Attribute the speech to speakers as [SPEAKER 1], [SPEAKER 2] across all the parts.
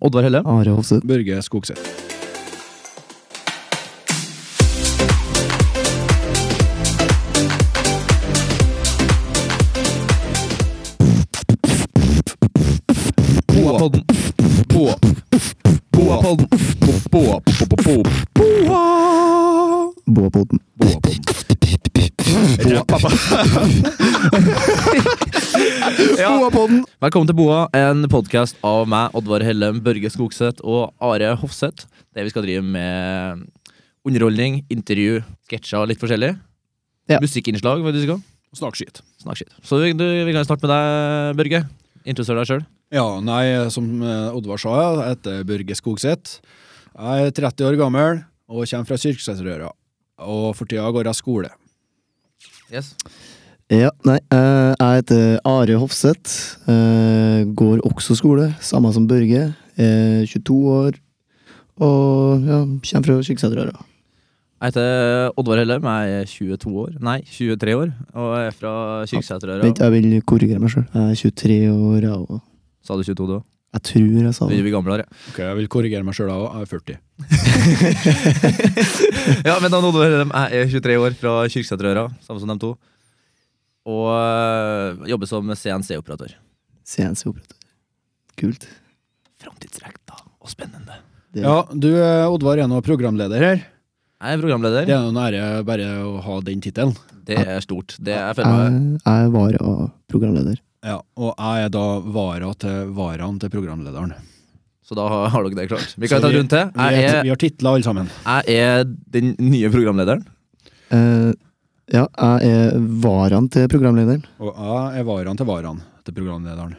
[SPEAKER 1] Oddvar Helle.
[SPEAKER 2] Are Hofseth.
[SPEAKER 3] Børge Skogseth.
[SPEAKER 1] Boapodden.
[SPEAKER 3] Boa. Boa.
[SPEAKER 1] Boapodden.
[SPEAKER 3] Boa. Boa. Boa.
[SPEAKER 2] Boapoden.
[SPEAKER 3] Boa. Boa.
[SPEAKER 1] Ja. Velkommen til Boa, en podkast av meg, Oddvar Hellem, Børge Skogseth og Are Hofseth. Der vi skal drive med underholdning, intervju, sketsjer, litt forskjellig.
[SPEAKER 2] Ja.
[SPEAKER 1] Musikkinnslag, hva du skal.
[SPEAKER 3] Snakk skit.
[SPEAKER 1] Snakk skitt. Så vi, du, vi kan starte med deg, Børge. Introduser deg sjøl.
[SPEAKER 3] Ja, nei, som eh, Oddvar sa, jeg heter Børge Skogseth. Jeg er 30 år gammel og kommer fra Kyrksæterøra. Og for tida går jeg skole.
[SPEAKER 1] Yes.
[SPEAKER 2] Ja, nei, eh, jeg heter Are Hofseth. eh, går også skole, samme som Børge. Er 22 år. Og ja, kommer fra Kyrksæterøra.
[SPEAKER 1] Jeg heter Oddvar Hellem, jeg er 22 år. Nei, 23 år. Og jeg er fra
[SPEAKER 2] Vent,
[SPEAKER 1] Kyrksæterøra.
[SPEAKER 2] jeg vil korrigere meg sjøl. Jeg er 23 år, jeg òg.
[SPEAKER 1] Sa du 22 da?
[SPEAKER 2] Jeg tror jeg sa
[SPEAKER 1] Vi
[SPEAKER 2] det.
[SPEAKER 1] blir gamlere.
[SPEAKER 3] Ok, Jeg vil korrigere meg sjøl, jeg er 40.
[SPEAKER 1] Ja, men da nådde jeg Jeg er 23 år fra Kyrksæterøra, samme som dem to. Og øh, jobber som CNC-operatør.
[SPEAKER 2] CNC-operator. Kult.
[SPEAKER 1] Framtidsrekta og spennende.
[SPEAKER 2] Det-
[SPEAKER 3] Ja, du eh, Oddvar er nå programleder her.
[SPEAKER 1] Jeg er
[SPEAKER 3] Det
[SPEAKER 1] programleder.
[SPEAKER 3] er en ære bare å ha den tittelen.
[SPEAKER 1] Det er stort. Det jeg føler meg
[SPEAKER 2] Jeg, jeg var av programleder.
[SPEAKER 3] Ja, og jeg er da vara til varaen til programlederen.
[SPEAKER 1] Så da har har dere det klart. Vi
[SPEAKER 3] Så
[SPEAKER 1] kan ta en
[SPEAKER 3] vi-
[SPEAKER 1] runde til.
[SPEAKER 3] Vi,
[SPEAKER 1] Jeg
[SPEAKER 3] er,
[SPEAKER 1] er,
[SPEAKER 3] vi har titler alle sammen.
[SPEAKER 1] jeg er den nye programlederen.
[SPEAKER 2] Eh, ja, jeg er varaen til programlederen.
[SPEAKER 3] Og jeg er varaen til varaen til programlederen.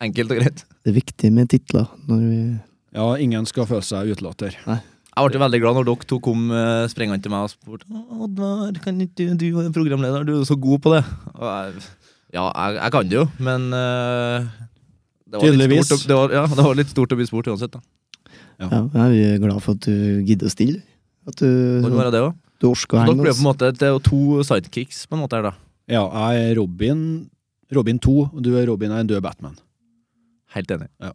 [SPEAKER 1] Enkelt og greit.
[SPEAKER 2] Det er viktig med titler når vi
[SPEAKER 3] Ja, ingen skal føle seg utelatt her.
[SPEAKER 1] Jeg ble veldig glad når dere to kom eh, sprengende til meg og spurte «Å, Oddvar, kan ikke du, du være programleder, du er jo så god på det. Og jeg, ja, jeg, jeg kan det jo, men eh, det var
[SPEAKER 3] Tydeligvis.
[SPEAKER 1] Litt stort, å- det, var, ja, det var litt stort å bli spurt uansett. Da.
[SPEAKER 2] Ja, nei, vi er glad for at du gidder å stille. At du,
[SPEAKER 1] Det kan være det også.
[SPEAKER 2] du orker å
[SPEAKER 1] Så dere
[SPEAKER 2] henge
[SPEAKER 1] ble på en
[SPEAKER 2] oss.
[SPEAKER 1] måte det er jo to sidekicks på en måte her, da.
[SPEAKER 3] Ja, jeg er Robin. Robin 2, og du er Robin er en død Batman.
[SPEAKER 1] Helt enig.
[SPEAKER 3] Ja.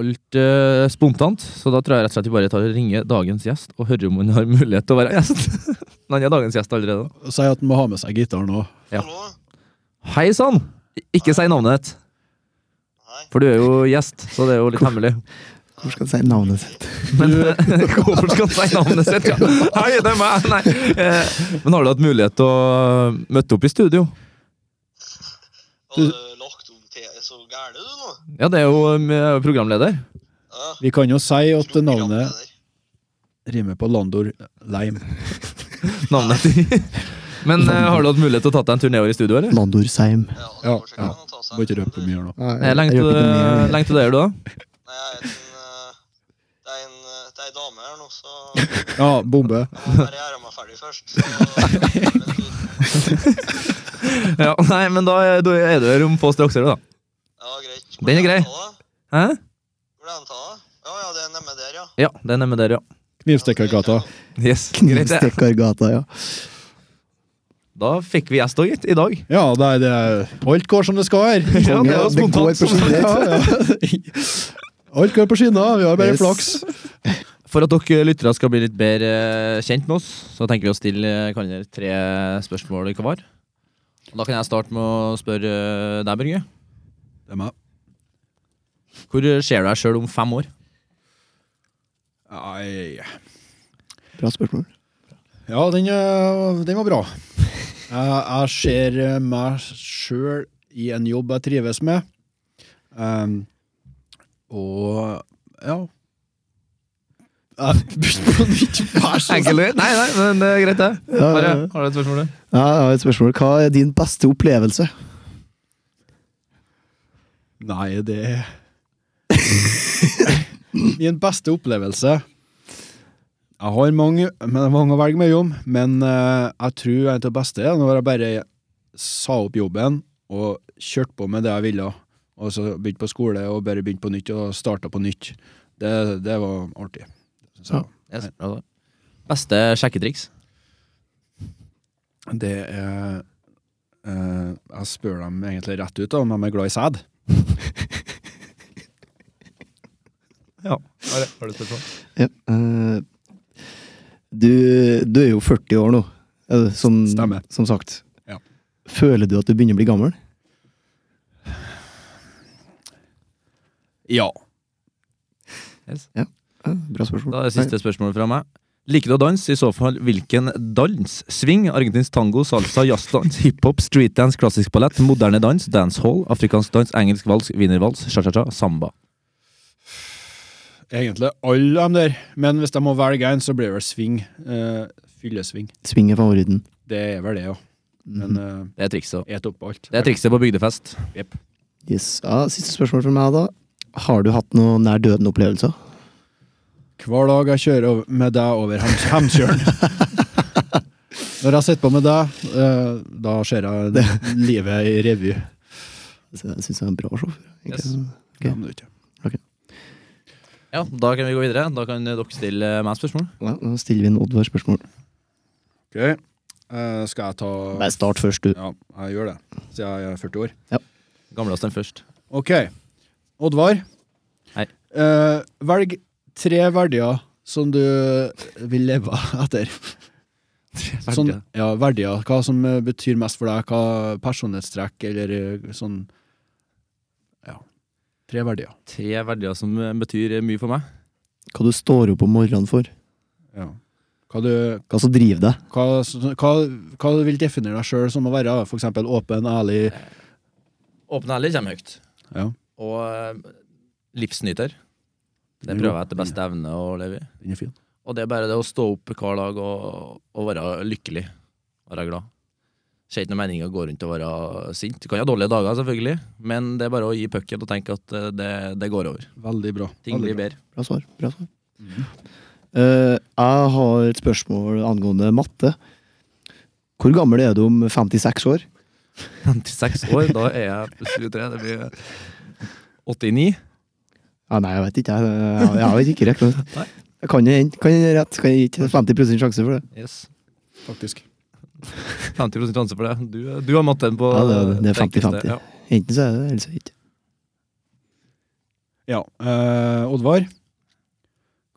[SPEAKER 1] Alt eh, spontant, så da tror jeg rett og slett vi bare tar og ringer dagens gjest og hører om han har mulighet til å være gjest. Men han er dagens gjest allerede.
[SPEAKER 3] Si at han må ha med seg gitaren òg.
[SPEAKER 1] Ja.
[SPEAKER 4] Hallo?
[SPEAKER 1] Hei sann! Ikke si navnet ditt,
[SPEAKER 4] Nei.
[SPEAKER 1] for du er jo gjest, så det er jo litt hemmelig.
[SPEAKER 2] Hvor skal jeg si navnet sitt?
[SPEAKER 1] Men eh, hvorfor skal han si navnet sitt? Ja. Hei, det er meg! Nei. Eh, Men har du hatt mulighet til å eh, møte opp i studio?
[SPEAKER 4] Har du lagt om til er så gæren du nå?
[SPEAKER 1] Ja, det er jo um, jeg er jo programleder.
[SPEAKER 4] Ja.
[SPEAKER 3] Vi kan jo si at
[SPEAKER 4] Tror
[SPEAKER 3] navnet
[SPEAKER 4] programleder.
[SPEAKER 3] rimer på Landor Leim.
[SPEAKER 1] Navnet ditt. Men eh, har du hatt mulighet til å tatt deg en tur nedover i studio, eller?
[SPEAKER 2] Landorsheim.
[SPEAKER 4] Ja,
[SPEAKER 3] Ja,
[SPEAKER 4] det går sikkert
[SPEAKER 3] ja.
[SPEAKER 4] an å ta seg
[SPEAKER 3] Må
[SPEAKER 4] en
[SPEAKER 3] ikke røpe
[SPEAKER 4] tur.
[SPEAKER 3] mye her nå.
[SPEAKER 1] Nei, eh, Lenge til lenge til det er du, da?
[SPEAKER 4] Nei, jeg vet en, eh, det er en, eh, det er en dame her nå, så
[SPEAKER 3] Ja, bombe.
[SPEAKER 4] jeg må bare gjøre meg ferdig først. Så,
[SPEAKER 1] Ja, nei, men da er da er du her om få straks, da.
[SPEAKER 4] ja, greit.
[SPEAKER 1] Den er grei. Hæ?
[SPEAKER 4] Hvor er den ta? da? Ja, ja, det er nemme der, ja.
[SPEAKER 1] Ja, det er nemme der, ja.
[SPEAKER 3] Knivstikkergata.
[SPEAKER 1] Yes, greit det.
[SPEAKER 2] Knivstikkergata, ja.
[SPEAKER 1] Da fikk vi gjest òg, gitt. I dag.
[SPEAKER 3] Ja, det er det. Alt går som det skal her.
[SPEAKER 1] Ja, det var
[SPEAKER 2] Det går
[SPEAKER 1] spontant.
[SPEAKER 2] på skinner.
[SPEAKER 3] Ja, ja. Alt går på skinner. Vi har bare
[SPEAKER 2] Yes.
[SPEAKER 3] flaks.
[SPEAKER 1] For at dere lyttere skal bli litt bedre eh, kjent med oss, så tenker vi å stille eh, kan dere tre spørsmål hver. Og Da kan jeg starte med å spørre eh, deg, Børge.
[SPEAKER 3] Det er meg.
[SPEAKER 1] Hvor eh, ser du deg sjøl om fem år?
[SPEAKER 3] Nei.
[SPEAKER 2] Bra spørsmål.
[SPEAKER 3] Ja, den, eh, den var bra. Jeg, jeg ser eh, meg sjøl i en jobb jeg trives med. Em, og ja. Jeg begynte på nytt. Vær så snill.
[SPEAKER 1] Enkelt? Nei, nei, men det er greit, det.
[SPEAKER 2] Ja,
[SPEAKER 1] Are,
[SPEAKER 2] ja, ja.
[SPEAKER 1] har du et spørsmål? du?
[SPEAKER 2] Ja, jeg har et spørsmål. Hva er din beste opplevelse?
[SPEAKER 3] Nei, det er Min beste opplevelse Jeg har mange, men mange å velge mellom, men eh, jeg tror en av de beste er når jeg bare sa opp jobben og kjørte på med det jeg ville, og så begynte på skole og bare begynte på nytt og starta på nytt. Det, det var artig. synes jeg.
[SPEAKER 1] Yes, bra, da. Beste sjekketriks?
[SPEAKER 3] Det er eh, Jeg spør dem egentlig rett ut da, om de er glad i sæd.
[SPEAKER 1] Ja. Har, har du spørsmål?
[SPEAKER 2] Ja. eh, du, du er jo 40 år nå, eh, som,
[SPEAKER 3] Stemmer.
[SPEAKER 2] som sagt.
[SPEAKER 3] Ja.
[SPEAKER 2] Føler du at du begynner å bli gammel?
[SPEAKER 3] Ja.
[SPEAKER 2] Ja, bra spørsmål.
[SPEAKER 1] Da er det siste spørsmålet fra meg. Liker du å danse? I så fall hvilken dans? Swing, argentinsk tango, salsa, jazzdans, hiphop, streetdance, klassisk ballett, moderne dans, dancehall, afrikansk dans, engelsk vals, wienervals, cha-cha-cha, samba.
[SPEAKER 3] Egentlig alle dem der, men hvis jeg må velge en, så blir det vel sving. Eh, fyllesving.
[SPEAKER 2] Nei, Sving er favoritten.
[SPEAKER 3] Det er vel det, ja. Men
[SPEAKER 2] Mhm.
[SPEAKER 3] uh,
[SPEAKER 1] Det er trikset.
[SPEAKER 3] et opp alt.
[SPEAKER 1] Det er trikset på bygdefest.
[SPEAKER 2] Yes. Ja, siste spørsmål fra meg, da. Har du hatt noen nær døden-opplevelser?
[SPEAKER 3] Hver dag jeg kjører over- med deg over Hems- Hemsjølen. Når jeg sitter på med deg, eh, da ser jeg livet i revy.
[SPEAKER 2] Altså, Jeg syns jeg er en bra sjåfør. egentlig.
[SPEAKER 1] Yes.
[SPEAKER 2] Ok.
[SPEAKER 3] Ja, men det er ikke-
[SPEAKER 1] Ja, da kan vi gå videre. Da kan dere stille meg spørsmål.
[SPEAKER 2] Ja, nå stiller vi en Oddvar-spørsmål.
[SPEAKER 3] Ok, Eh, skal jeg ta
[SPEAKER 2] Nei, start først, du.
[SPEAKER 3] Ja, jeg gjør det, siden jeg er 40 år.
[SPEAKER 1] Gamlesten først.
[SPEAKER 3] Ok, Oddvar.
[SPEAKER 1] Hei.
[SPEAKER 3] Eh, velg tre verdier som du vil leve etter. Sånn, ja, verdier. Hva som eh, betyr mest for deg. Hva personlighetstrekk eller eh, sånn Ja. Tre verdier.
[SPEAKER 1] Tre verdier som eh, betyr mye for meg.
[SPEAKER 2] Hva du står opp om morgenen for.
[SPEAKER 3] Ja. Hva du,
[SPEAKER 2] Hva som driver deg.
[SPEAKER 3] hva, hva, hva du vil definere deg sjøl som å være? For eksempel åpen, ærlig
[SPEAKER 1] Åpne ærlig kommer høyt.
[SPEAKER 3] ja.
[SPEAKER 1] Og eh, livsnyter. Det prøver jeg etter beste evne å leve i.
[SPEAKER 3] Den er fin.
[SPEAKER 1] Og det er bare det å stå opp hver dag og, og være lykkelig. Være glad. Ser ikke noe mening i å gå rundt og være sint. Du kan ha dårlige dager, selvfølgelig, men det er bare å gi pucken og tenke at eh, det, det går over.
[SPEAKER 3] Veldig bra.
[SPEAKER 1] Ting
[SPEAKER 3] Veldig
[SPEAKER 1] blir
[SPEAKER 3] bra.
[SPEAKER 1] bedre.
[SPEAKER 2] Bra svar. Bra svar. Eh, jeg har et spørsmål angående matte. Hvor gammel er du om 56 år?
[SPEAKER 1] 56 år, da er jeg pluss 23. Det blir 89.
[SPEAKER 2] Ja, nei, jeg vet ikke. Jeg, jeg, jeg vet ikke rett.
[SPEAKER 1] Nei.
[SPEAKER 2] Jeg kan det hende. Kan jeg rett? Kan jeg ikke 50 sjanse for det?
[SPEAKER 1] Yes.
[SPEAKER 3] Faktisk.
[SPEAKER 1] 50 sjanse for det. Du, du har matten på
[SPEAKER 2] Ja, det er- det er
[SPEAKER 1] enkleste.
[SPEAKER 2] 50-50. Enten så er det det, eller så er det ikke.
[SPEAKER 3] Ja. Eh, Oddvar,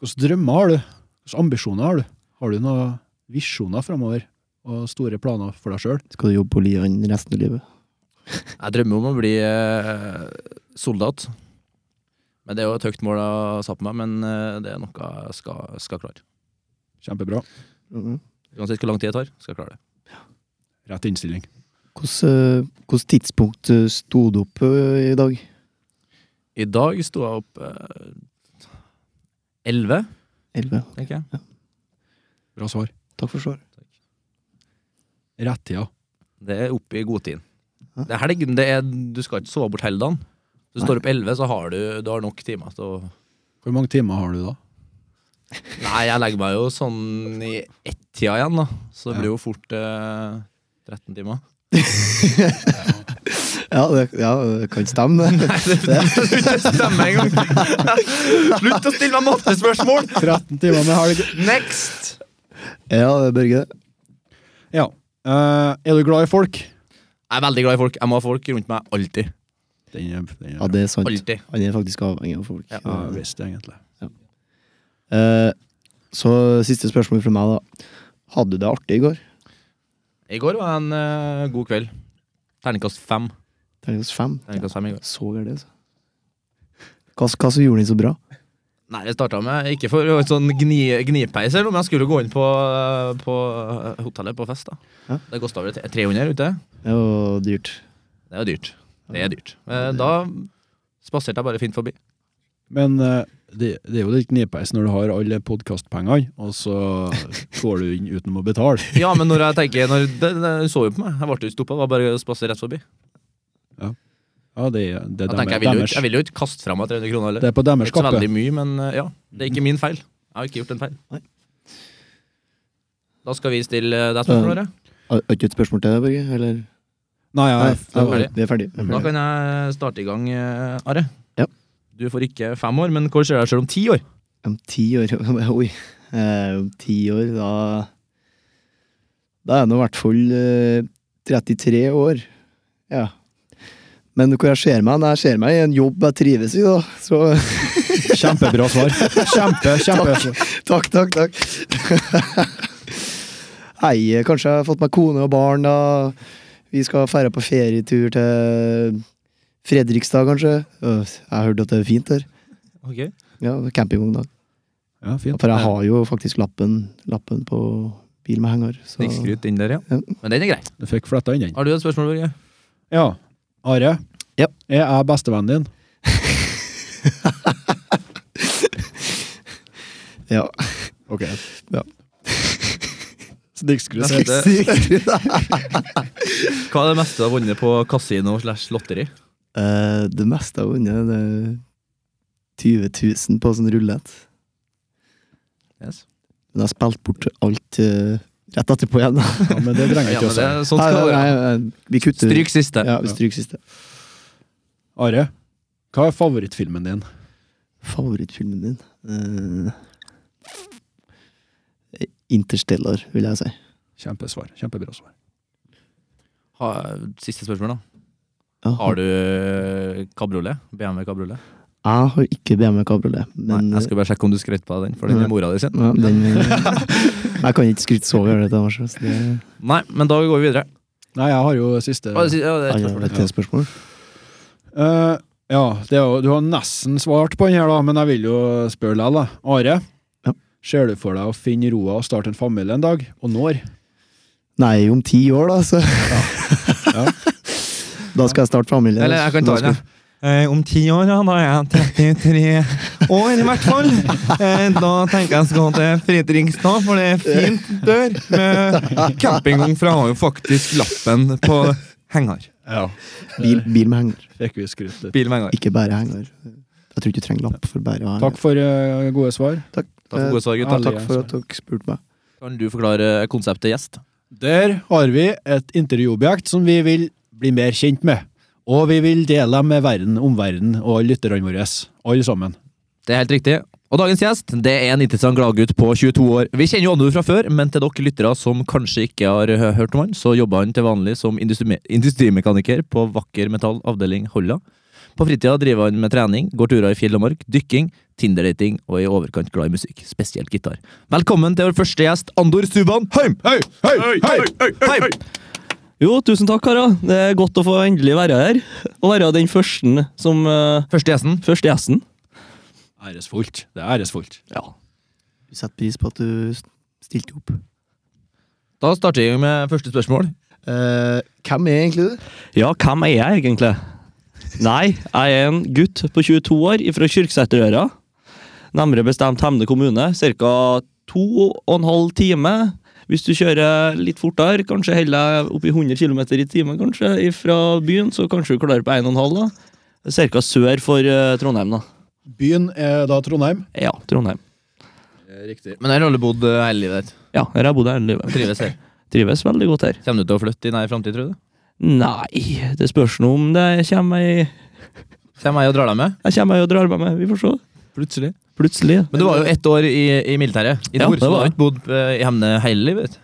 [SPEAKER 3] hvilke drømmer har du? Hvilke ambisjoner har du? Har du noen visjoner framover? Og store planer for deg sjøl?
[SPEAKER 2] Skal du jobbe på Lian resten av livet?
[SPEAKER 1] Jeg drømmer om å bli eh, soldat. Men Det er jo et høyt mål jeg har satt på meg, men eh, det er noe jeg skal, skal klare.
[SPEAKER 3] Kjempebra.
[SPEAKER 2] Mhm.
[SPEAKER 1] Uansett hvor lang tid det tar, skal jeg klare det.
[SPEAKER 3] Rett innstilling.
[SPEAKER 2] Hvordan, eh, hvordan tidspunkt eh, sto du opp eh, i dag?
[SPEAKER 1] I dag sto jeg opp eh, 11,
[SPEAKER 2] 11.
[SPEAKER 1] tenker jeg.
[SPEAKER 3] Bra svar.
[SPEAKER 2] Takk for svar.
[SPEAKER 3] Rettida.
[SPEAKER 1] Det er oppe i godtiden.
[SPEAKER 2] Hæ?
[SPEAKER 1] Det er helg, men det er, du skal ikke sove bort hele dagen. Du
[SPEAKER 2] Nei.
[SPEAKER 1] står opp 11, så har du, du har nok timer til å
[SPEAKER 3] Hvor mange timer har du da?
[SPEAKER 1] Nei, jeg legger meg jo sånn i ett-tida igjen, da. Så det blir jo fort eh, 13 timer.
[SPEAKER 2] Ja, det, ja, det kan stemme, det.
[SPEAKER 1] Stemmer en gang. Slutt å stille meg mattespørsmål!
[SPEAKER 3] 13 timer med helg.
[SPEAKER 1] Next!
[SPEAKER 2] Ja, det er Børge.
[SPEAKER 3] Ja. Eh, er du glad i folk?
[SPEAKER 1] Jeg er veldig glad i folk. Jeg må ha folk rundt meg alltid.
[SPEAKER 3] Den er, den er
[SPEAKER 2] Ja, det er sant.
[SPEAKER 1] Alltid.
[SPEAKER 2] Han er faktisk avhengig av folk.
[SPEAKER 1] Ja.
[SPEAKER 3] Ja, visst, egentlig.
[SPEAKER 2] Eh, så siste spørsmål fra meg, da. Hadde du det artig i går?
[SPEAKER 1] I går var en eh, god kveld. Terningkast fem.
[SPEAKER 2] Terningkast fem.
[SPEAKER 1] Terningkast fem i går.
[SPEAKER 2] Så gærent, altså. Hva, hva som gjorde den så bra?
[SPEAKER 1] Nei, det starta med Ikke for å sånn gni, gnipeis, eller noe, men jeg skulle gå inn på, eh, på hotellet på fest. da
[SPEAKER 2] Ja.
[SPEAKER 1] Det kosta vel 300 ute.
[SPEAKER 2] Det var dyrt.
[SPEAKER 1] Det er jo dyrt. Det er dyrt. Men da spaserte jeg bare fint forbi.
[SPEAKER 3] Men eh, det, det er jo litt knipeis når du har alle podkastpengene, og så går du inn uten å betale.
[SPEAKER 1] Ja, men når jeg tenker når, det, det, Hun så jo på meg. Jeg ble jo ikke stoppa. Det var bare å spasere rett forbi.
[SPEAKER 3] Ja, det, det,
[SPEAKER 1] Jeg
[SPEAKER 3] er
[SPEAKER 1] tenker, jeg vil
[SPEAKER 3] dem-
[SPEAKER 1] jo
[SPEAKER 3] deres,
[SPEAKER 1] ikke, jeg vil jo ikke kaste fra meg 300 kroner heller.
[SPEAKER 3] det er på
[SPEAKER 1] Det er
[SPEAKER 3] deres
[SPEAKER 1] ikke så
[SPEAKER 3] kappe.
[SPEAKER 1] veldig mye, men eh, ja. Det er ikke min feil. Jeg har ikke gjort en feil.
[SPEAKER 2] Nei.
[SPEAKER 1] Da skal vi stille eh, deg spørsmål, Are.
[SPEAKER 2] Har har ikke et spørsmål til deg, Børge? Eller?
[SPEAKER 3] Nei,
[SPEAKER 2] Nei,
[SPEAKER 3] jeg,
[SPEAKER 2] nei,
[SPEAKER 1] ferdig.
[SPEAKER 2] vi er ferdige. Vi er
[SPEAKER 1] Da
[SPEAKER 2] ferdige.
[SPEAKER 1] kan jeg starte i gang, eh, Are.
[SPEAKER 2] Mhm. Ja.
[SPEAKER 1] Du får ikke fem år, men hvor ser du deg selv om ti år?
[SPEAKER 2] Om ti år Oi. Eh, om ti år, da Da er jeg nå i hvert fall eh, 33 år. Ja. Men hvor jeg ser meg, når jeg ser meg i en jobb jeg trives i, da. Så
[SPEAKER 3] Kjempebra svar. Kjempe, kjempe.
[SPEAKER 2] takk, takk, takk. Nei, eh, kanskje jeg har fått meg kone og barn, da. Vi skal feire på ferietur til Fredrikstad, kanskje. Øh, Jeg hørte at det er fint der.
[SPEAKER 1] Ok.
[SPEAKER 2] Ja, campingvogn, da.
[SPEAKER 3] Ja, fint.
[SPEAKER 2] For jeg har jo faktisk lappen, lappen på bil med henger. Så.
[SPEAKER 1] Snikskryt inn der, ja.
[SPEAKER 2] Ja.
[SPEAKER 1] Men den er grei.
[SPEAKER 3] Du fikk fletta inn den.
[SPEAKER 1] Har du et spørsmål, Børge?
[SPEAKER 3] Ja. Are,
[SPEAKER 2] Ja.
[SPEAKER 3] jeg er bestevennen din.
[SPEAKER 2] Ja.
[SPEAKER 3] Ok.
[SPEAKER 2] Ja.
[SPEAKER 3] Snikskryt.
[SPEAKER 1] Neste. Hva er det meste du har vunnet på kasino slash lotteri?
[SPEAKER 2] Eh, det meste jeg har vunnet, det er 20 000 på sånn rulett.
[SPEAKER 1] Yes.
[SPEAKER 2] Men jeg har spilt bort alt eh, rett etterpå igjen.
[SPEAKER 3] Ja, men det trenger jeg
[SPEAKER 1] Ja,
[SPEAKER 3] ikke
[SPEAKER 1] men
[SPEAKER 3] å
[SPEAKER 1] det,
[SPEAKER 3] si.
[SPEAKER 1] sånn skal det være.
[SPEAKER 2] nei, vi kutter.
[SPEAKER 1] Stryk siste.
[SPEAKER 2] Ja, vi stryker siste.
[SPEAKER 3] Are, hva er favorittfilmen din?
[SPEAKER 2] Favorittfilmen din? Eh, Interstellar, vil jeg si.
[SPEAKER 3] Kjempesvar. Kjempebra svar.
[SPEAKER 1] Ha, siste spørsmål, da.
[SPEAKER 2] Ja.
[SPEAKER 1] Har du kabriolet? BMW kabriolet?
[SPEAKER 2] Jeg har ikke BMW kabriolet, men
[SPEAKER 1] Nei, jeg skal bare sjekke om du skrøt på den, for den
[SPEAKER 2] Nei.
[SPEAKER 1] er mora di sin.
[SPEAKER 2] ja, den, Jeg kan ikke skryte så over det. da, så Det
[SPEAKER 1] Nei, men da går vi videre.
[SPEAKER 3] Nei, jeg har jo siste
[SPEAKER 1] Å, si- ja, det er et
[SPEAKER 2] Ja,
[SPEAKER 1] spørsmål.
[SPEAKER 2] det er et spørsmål.
[SPEAKER 3] Eh, ja, det er jo, du har nesten svart på den her, da, men jeg vil jo spørre likevel. da. Are,
[SPEAKER 2] Ja.
[SPEAKER 3] ser du for deg å finne roa og starte en familie en dag? Og når?
[SPEAKER 2] Nei, om ti år, da, så
[SPEAKER 3] Ja.
[SPEAKER 2] Da skal jeg starte familie.
[SPEAKER 1] Eller jeg kan ta
[SPEAKER 2] Da skal-
[SPEAKER 1] den, jeg. Eh, om ti år, ja, da er jeg 33 år, i hvert fall. Eh, da tenker jeg skal til Fredrikstad, for det er fint der. Med campingvogn, for jeg har jo faktisk lappen på henger.
[SPEAKER 3] ja.
[SPEAKER 2] Bil, bil med henger.
[SPEAKER 3] Fikk vi skrytt litt.
[SPEAKER 1] Bil med henger.
[SPEAKER 2] Ikke bare henger. Jeg tror ikke du trenger lapp for bare å ha
[SPEAKER 3] Takk for eh, gode svar.
[SPEAKER 2] Takk.
[SPEAKER 1] Takk for gode svar,
[SPEAKER 2] Eh,
[SPEAKER 1] gutter.
[SPEAKER 2] Takk for at dere spurte meg.
[SPEAKER 1] Kan du forklare konseptet gjest?
[SPEAKER 3] Der har vi et intervjuobjekt som vi vil bli mer kjent med. Og vi vil dele med verden, omverdenen og lytterne våre. Alle sammen.
[SPEAKER 1] Det er helt riktig. Og dagens gjest det er en interessant gladgutt på 22 år. Vi kjenner jo Andu fra før, men til dere lyttere som kanskje ikke har hø- hørt om han, så jobber han til vanlig som industri industrimekaniker på Vakker Metall avdeling Holla. På fritida driver han med trening, går turer i fjell og mark, dykking, Tinder-dating og er i overkant glad i musikk, spesielt gitar. Velkommen til vår første gjest, Andor Stuban Heim!
[SPEAKER 3] Hei, hei, hei,
[SPEAKER 1] Heim!
[SPEAKER 5] Jo, tusen takk, karer. Det er godt å få endelig være her. Og være den første som eh,
[SPEAKER 1] Første gjesten.
[SPEAKER 5] Første gjesten.
[SPEAKER 3] Æresfullt. Det er æresfullt.
[SPEAKER 5] Ja.
[SPEAKER 2] Vi setter pris på at du s- stilte opp.
[SPEAKER 1] Da starter jeg med første spørsmål.
[SPEAKER 2] Eh, hvem er egentlig du?
[SPEAKER 5] ja, hvem er jeg egentlig? Nei, jeg er en gutt på 22 år fra Kyrksæterøra. Nærmere bestemt Hemne kommune. Ca. to og en halv time. Hvis du kjører litt fortere, kanskje heller oppi 100 km i timen kanskje, fra byen, så kanskje du klarer på 1,5. da. Ca. sør for eh, Trondheim, da.
[SPEAKER 3] Byen er da Trondheim.
[SPEAKER 5] Ja, Trondheim.
[SPEAKER 3] Riktig.
[SPEAKER 1] Eh, Men her har du bodd eh, hele livet ditt.
[SPEAKER 5] Ja, her har jeg bodd hele livet.
[SPEAKER 1] Trives her.
[SPEAKER 5] Trives veldig godt her.
[SPEAKER 1] Kommer du til å flytte i nær framtid, tror du?
[SPEAKER 5] Nei, det spørs nå om det kommer ei
[SPEAKER 1] Kommer jeg og drar deg med?
[SPEAKER 5] Jeg kommer ei og drar med meg, vi får se.
[SPEAKER 1] Plutselig.
[SPEAKER 5] Plutselig.
[SPEAKER 1] Men du var jo ett år i, i militæret. I
[SPEAKER 5] Ja,
[SPEAKER 1] nord,
[SPEAKER 5] det
[SPEAKER 1] så du
[SPEAKER 5] var
[SPEAKER 1] har jo
[SPEAKER 5] jeg.
[SPEAKER 1] ikke bodd eh, i Hemne hele livet.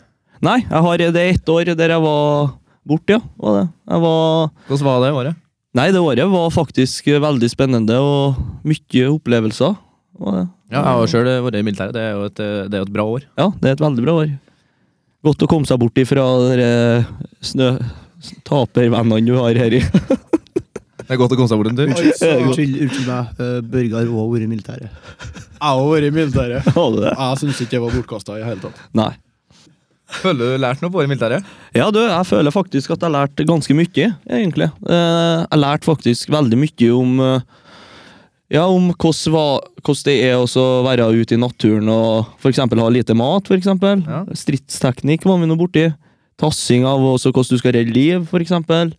[SPEAKER 5] Nei, jeg har det er ett år der jeg var borte, ja. Var det. Jeg var
[SPEAKER 1] Hvordan var det året?
[SPEAKER 5] Nei, det året var faktisk veldig spennende og mye opplevelser. Var det.
[SPEAKER 1] Ja, Jeg har sjøl vært i militæret. Det er jo et, eh, det er jo et bra år.
[SPEAKER 5] Ja, det er et veldig bra år. Godt å komme seg bort ifra dere snø... s- Tapervennene du har her i
[SPEAKER 1] Det er godt å komme seg bort en tur.
[SPEAKER 3] Jeg
[SPEAKER 2] Unnskyld, unnskyld meg. Uh, Børge har òg vært i militæret.
[SPEAKER 3] har vært i militæret.
[SPEAKER 5] Har du det?
[SPEAKER 3] Jeg syns ikke det var bortkasta i hele tatt.
[SPEAKER 5] Nei.
[SPEAKER 1] Føler du lært noe på året i militæret?
[SPEAKER 5] Ja, du, jeg føler faktisk at jeg lærte ganske mye, egentlig. Eh, Jeg lærte faktisk veldig mye om eh, ja, om hvordan va- hvordan det er å så være ute i naturen og for eksempel ha lite mat. For eksempel.
[SPEAKER 1] Ja.
[SPEAKER 5] Stridsteknikk var vi nå borti. Tassing av også hvordan du skal redde liv, for eksempel.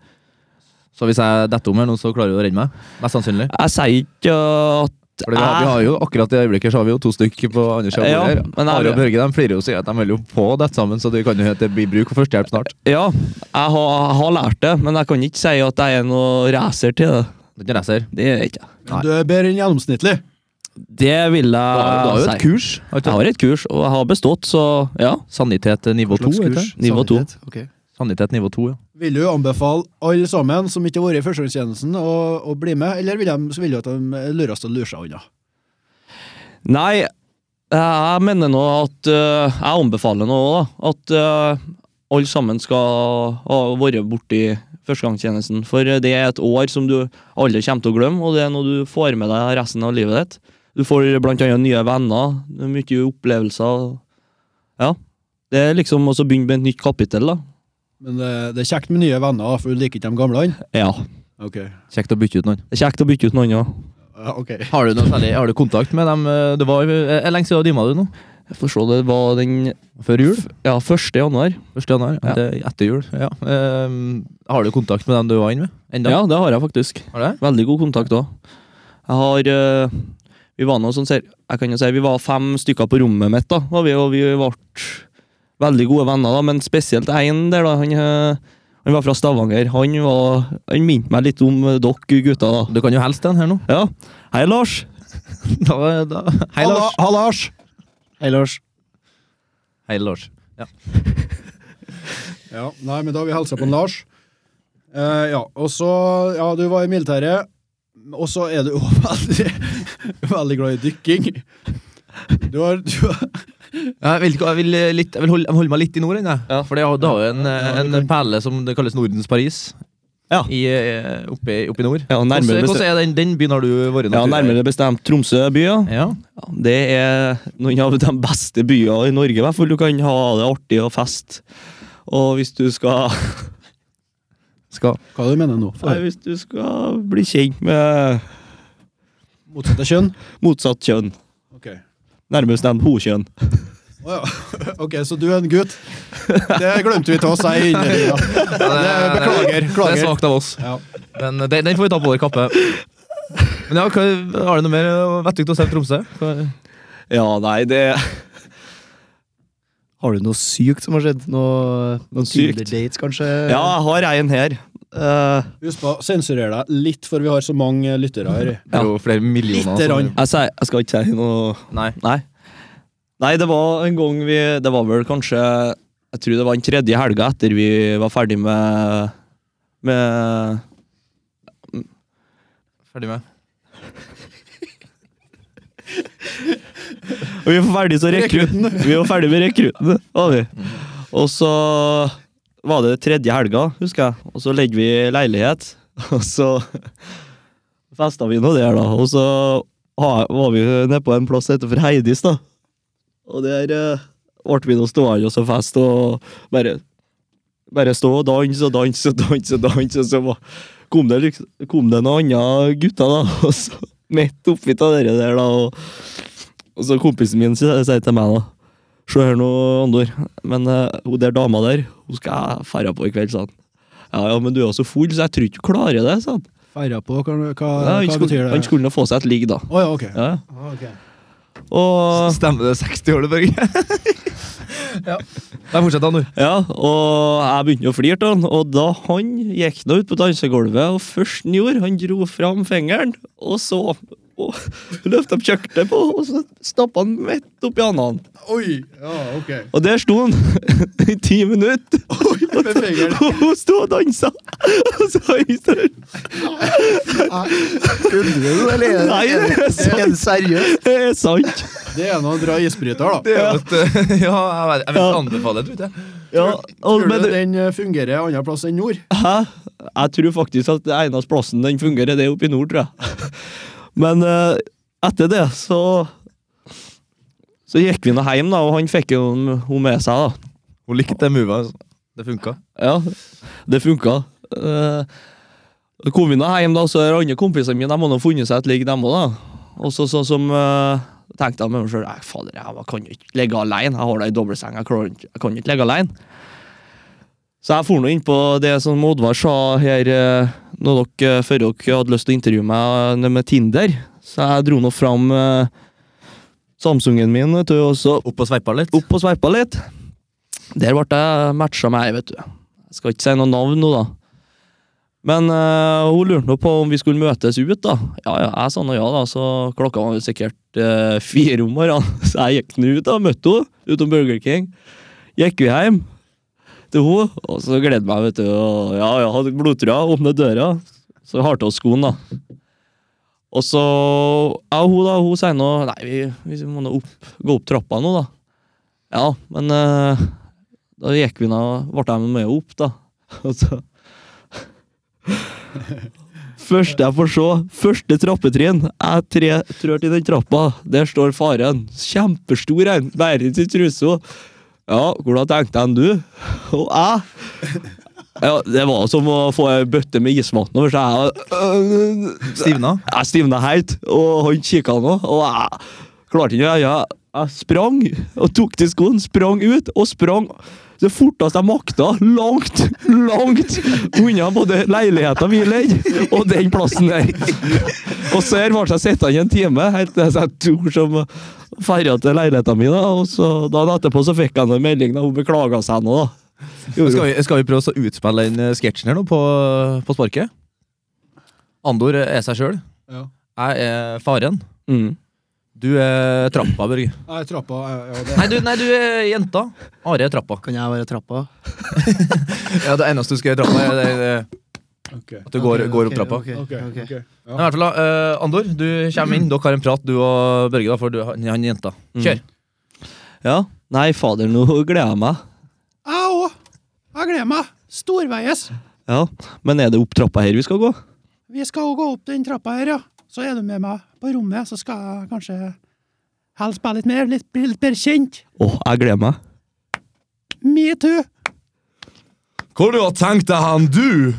[SPEAKER 1] Så hvis jeg detter om her nå, så klarer du å redde meg? Mest sannsynlig.
[SPEAKER 5] Jeg sier ikke eh, at
[SPEAKER 1] For vi, har- vi har jo akkurat i øyeblikket så har vi jo to stykker på andre sida.
[SPEAKER 5] Ja,
[SPEAKER 1] Ja,
[SPEAKER 5] men
[SPEAKER 1] Are
[SPEAKER 5] jeg-
[SPEAKER 1] og Børge de flirer jo og sier at de holder jo på å dette sammen, så det kan jo hete det blir bruk for førstehjelp snart.
[SPEAKER 5] Ja, jeg har, jeg har lært det, men jeg kan ikke si at jeg er noen racer til det.
[SPEAKER 1] Det er ikke racer.
[SPEAKER 5] Det er jeg ikke.
[SPEAKER 3] Men du er bedre enn gjennomsnittlig.
[SPEAKER 5] Det vil
[SPEAKER 1] Du
[SPEAKER 5] jeg
[SPEAKER 1] har du har jo et
[SPEAKER 5] si.
[SPEAKER 1] kurs. har du
[SPEAKER 5] Jeg
[SPEAKER 1] ikke det?
[SPEAKER 5] har et kurs, og jeg har bestått, så ja.
[SPEAKER 1] Sanitet nivå 2, heter det.
[SPEAKER 5] Nivå to.
[SPEAKER 2] Ok.
[SPEAKER 1] Sanitet nivå 2, ja.
[SPEAKER 3] Vil du anbefale alle sammen som ikke har vært i førstegangstjenesten, å, å bli med, eller vil, de, så vil du at de lures til å lure seg unna?
[SPEAKER 5] Nei, jeg mener nå at eh, Jeg anbefaler nå da, at eh, alle sammen skal ha vært borti førstegangstjenesten. For det er et år som du aldri kommer til å glemme, og det er noe du får med deg resten av livet ditt. Du får blant annet nye venner, det er mye opplevelser. Ja. Det er liksom også å begynne med et nytt kapittel, da.
[SPEAKER 3] Men det, det er kjekt med nye venner, for du liker ikke de gamle.
[SPEAKER 5] Ja.
[SPEAKER 3] Ok.
[SPEAKER 1] Kjekt å bytte ut noen.
[SPEAKER 5] Det er kjekt å bytte ut noen òg.
[SPEAKER 3] Ja, ok.
[SPEAKER 1] Har du, noe særlig, har du kontakt med dem? eh, Det var eh, er lenge siden du dima du nå?
[SPEAKER 5] Jeg får se, det var den
[SPEAKER 1] Før jul?
[SPEAKER 5] ja, 1. januar.
[SPEAKER 1] Første januar?
[SPEAKER 5] Ja.
[SPEAKER 1] Etter, etter jul, ja. Ehm, har du kontakt med dem du var inne med? Enda?
[SPEAKER 5] Ja, det har jeg faktisk.
[SPEAKER 1] Har du det?
[SPEAKER 5] Veldig god kontakt òg. Jeg har eh, Vi var nå sånn ser, Jeg kan jo si vi var fem stykker på rommet mitt, da. Var vi, og vi ble veldig gode venner, da. Men spesielt én der, da. Han, eh, han var fra Stavanger. Han, var- han minte meg litt om eh, dere gutter, da.
[SPEAKER 1] Du kan jo helst den her nå.
[SPEAKER 5] Ja. Hei, Lars.
[SPEAKER 1] Da, da. Hei,
[SPEAKER 3] Halla-
[SPEAKER 1] Lars.
[SPEAKER 3] Halla, Lars!
[SPEAKER 2] Hei, Lars.
[SPEAKER 1] Hei, Lars.
[SPEAKER 3] Ja, nei, men da har vi hilsa på en Lars. Eh, ja, og så Ja, du var i militæret, og så er du jo veldig, veldig glad i dykking. Du har, du har
[SPEAKER 1] Jeg vil, ikke- jeg vil, eh, litt, jeg vil holde, jeg vil holde meg litt i nord, jeg.
[SPEAKER 5] Ja.
[SPEAKER 1] For det har- det har jo en, eh,
[SPEAKER 3] Ja,
[SPEAKER 1] en
[SPEAKER 3] du kan-
[SPEAKER 1] perle som det kalles Nordens Paris.
[SPEAKER 5] Ja.
[SPEAKER 1] I, eh, oppe, i- oppe i nord.
[SPEAKER 5] Ja,
[SPEAKER 1] Hvordan,
[SPEAKER 5] nærmere, bestemt,
[SPEAKER 1] hvordan er den, den byen har du vært i?
[SPEAKER 5] ja, nærmere bestemt Tromsø by, ja.
[SPEAKER 1] Ja.
[SPEAKER 5] Ja, Det er noen av de beste byene i Norge, i hvert fall. Du kan ha det artig og fest. Og hvis du skal
[SPEAKER 1] Skal.
[SPEAKER 3] Hva du mener du nå?
[SPEAKER 5] Nei,
[SPEAKER 3] For
[SPEAKER 5] hvis du skal bli kjent med
[SPEAKER 3] motsatte kjønn?
[SPEAKER 5] motsatt kjønn,
[SPEAKER 3] Ok.
[SPEAKER 5] nærmere bestemt hokjønn
[SPEAKER 3] Å ja. Ok, så du er en gutt. Det glemte vi til å si innledninga.
[SPEAKER 1] det-
[SPEAKER 3] Beklager.
[SPEAKER 1] Det er
[SPEAKER 3] beklager.
[SPEAKER 1] svakt av oss.
[SPEAKER 3] Ja.
[SPEAKER 1] Men eh, den, den får vi ta på vår kappe. Men ja, hva, Har du noe mer eh, vettugt å si om Tromsø? Hva-
[SPEAKER 5] Ja, nei, det
[SPEAKER 2] Har du noe sykt som har skjedd? Noe, noen
[SPEAKER 5] Sykt?
[SPEAKER 2] Tinder-dates, kanskje?
[SPEAKER 5] Ja, jeg har en her. Eh,
[SPEAKER 3] Husk på å sensurere deg litt, for vi har så mange lyttere her.
[SPEAKER 1] Det er jo flere millioner. altså.
[SPEAKER 3] Lite
[SPEAKER 1] som-
[SPEAKER 3] grann.
[SPEAKER 5] jeg, sier, jeg skal ikke si noe
[SPEAKER 1] Nei.
[SPEAKER 5] Nei. Nei, det var en gang vi Det var vel kanskje Jeg tror det var den tredje helga etter vi var ferdig med Med
[SPEAKER 1] Ferdig med.
[SPEAKER 5] Og vi var ferdig så rekrutten. Vi var ferdig med rekrutten, var vi. Og så var det tredje helga, husker jeg. Og så leide vi leilighet. Og så festa vi nå der, da. Og så ha- var vi nede på en plass utenfor Heidis, da. Og der eh, ble vi nå stående og så fest og bare bare stå og danse og danse og danse, og danse, og så var, kom, det liksom, kom det noen andre gutter, da. Og så midt oppi av det der, da. og og så kompisen min sier sier til meg da Se her nå, Andor. Men eh, hun der dama der, hun skal jeg ferde på i kveld, sa han. Ja, ja, men du er jo så full, så jeg tror ikke du klarer det, sa han.
[SPEAKER 3] Feira på, hva, hva,
[SPEAKER 5] Ja, han,
[SPEAKER 3] hva
[SPEAKER 5] skulle,
[SPEAKER 3] betyr
[SPEAKER 5] han
[SPEAKER 3] det?
[SPEAKER 5] skulle nå få seg et ligg, da.
[SPEAKER 3] Å ja, ok.
[SPEAKER 5] Ja.
[SPEAKER 3] Ah, ok.
[SPEAKER 5] Og,
[SPEAKER 1] Stemmer det 60 år, det, Børge? ja. Nei, fortsett, da, nå.
[SPEAKER 5] ja, og jeg begynte jo å flire til han, og da han gikk nå ut på dansegulvet, og først han gjorde, han dro fram fingeren, og så og, løfta opp kjøkkenet på, og så stappa han midt oppi annen.
[SPEAKER 3] Oi! Ja, ok.
[SPEAKER 5] Og der sto han i ti minutter.
[SPEAKER 3] med fingeren.
[SPEAKER 5] Og hun sto og dansa! Og så høyste hun
[SPEAKER 2] Kødder du, eller? er det-
[SPEAKER 1] Eh,
[SPEAKER 5] Nei, det er sant.
[SPEAKER 2] Er det seriøst?
[SPEAKER 5] Det er sant!
[SPEAKER 3] Det er noe å dra isbryter, da.
[SPEAKER 1] Det er jo et, ja, jeg, vet, jeg vil
[SPEAKER 5] Ja.
[SPEAKER 1] ikke anbefale det, tror jeg.
[SPEAKER 5] Ja, og,
[SPEAKER 3] Tror
[SPEAKER 5] men,
[SPEAKER 3] du den eh, fungerer andre plass enn nord?
[SPEAKER 5] hæ? Jeg tror faktisk at det eneste plassen den fungerer, det er oppe i nord, tror jeg. Men eh, etter det, så Så gikk vi nå hjem, da, og han fikk jo henne med seg, da.
[SPEAKER 1] Hun likte det movet. altså. Det funka.
[SPEAKER 5] Ja, det funka. Eh, Da kom vi nå hjem, da, så er andre kompisene mine de har nå funnet seg et ligg, dem òg. da. Og så sånn som eh, tenkte jeg med meg sjøl Nei, fader, jeg kan jo ikke ligge alene. Jeg har da ei dobbeltseng. Jeg, klarer ikke- jeg kan ikke ligge alene. Så jeg for nå inn på det som Oddvar sa her eh, når dere, før dere hadde lyst til å intervjue meg eh, med Tinder. Så jeg dro nå fram eh, Samsungen min, vet du, og så
[SPEAKER 1] Opp og sveipa litt.
[SPEAKER 5] opp og sveipa litt. Der ble jeg matcha med ei, vet du. Jeg skal ikke si noe navn nå, da. Men eh, hun lurte nå på om vi skulle møtes ut, da. Ja, ja, jeg sa nå ja, da, så klokka var vel sikkert eh, fire om morgenen. Så jeg gikk nå ut, da, møtte hun utom Burger King. Gikk vi hjem. til henne, og så gleder jeg meg, vet du. Og ja, ja, hadde blodtrua, åpner døra, så har til oss skoen, da. Og så Ja, hun da, hun sier nå Nei, vi, vi må nå opp, gå opp trappa nå, da. Ja, men eh, da gikk vi nå Ble jeg med opp, da. Og så Første jeg får se, første trappetrinn. Jeg tre trør til den trappa. Der står faren. Kjempestor en. Bærer i trusa. Ja, hvordan tenkte han du? Og jeg? Ja, det var som å få ei bøtte med isvann over seg. Jeg,
[SPEAKER 1] Stivna.
[SPEAKER 5] jeg stivna helt, og han kikka nå, og jeg klarte ikke jeg, jeg, jeg sprang og tok til skoen, sprang ut og sprang det forteste jeg makta, langt, langt unna både leiligheten vi leide, og den plassen der. Og så her ble jeg sittende en time, helt til jeg tok som ferja til leiligheten min. da, Og så dagen etterpå så fikk jeg en melding, da hun beklaga seg nå, da. Gjorde
[SPEAKER 1] Skal vi, skal vi prøve å så utspille den eh, sketsjen her nå på, på sparket? Andor er seg sjøl.
[SPEAKER 3] Ja.
[SPEAKER 1] Jeg er faren.
[SPEAKER 5] hun. Mm.
[SPEAKER 1] Du er trappa, Børge.
[SPEAKER 3] Nei, trappa ja, ja, det.
[SPEAKER 1] Nei du, nei, du er jenta. Are er trappa.
[SPEAKER 2] Kan jeg være trappa?
[SPEAKER 1] Ja, Det eneste du skal gjøre i trappa, er det- det-
[SPEAKER 3] Ok.
[SPEAKER 1] at du går, går opp trappa.
[SPEAKER 2] Ok,
[SPEAKER 3] Ok,
[SPEAKER 2] ok.
[SPEAKER 3] ok.
[SPEAKER 1] Men
[SPEAKER 3] Ja.
[SPEAKER 1] i hvert fall, da, eh, Andor, du kommer inn. Dere har en prat, du og Børge, da, for du, han, han er jenta. Kjør.
[SPEAKER 5] Ja. Nei, fader, nå gleder jeg meg.
[SPEAKER 3] Jeg òg. Jeg gleder meg. Storveies.
[SPEAKER 5] Ja, Men er det opp trappa her vi skal gå?
[SPEAKER 3] Vi skal jo gå opp den trappa her, ja. Så er du med meg på rommet, så skal jeg kanskje helst spille litt mer, litt, bli litt bedre kjent.
[SPEAKER 5] Å, jeg gleder meg.
[SPEAKER 3] Me too.
[SPEAKER 1] Hvor du har tenkt deg han, du?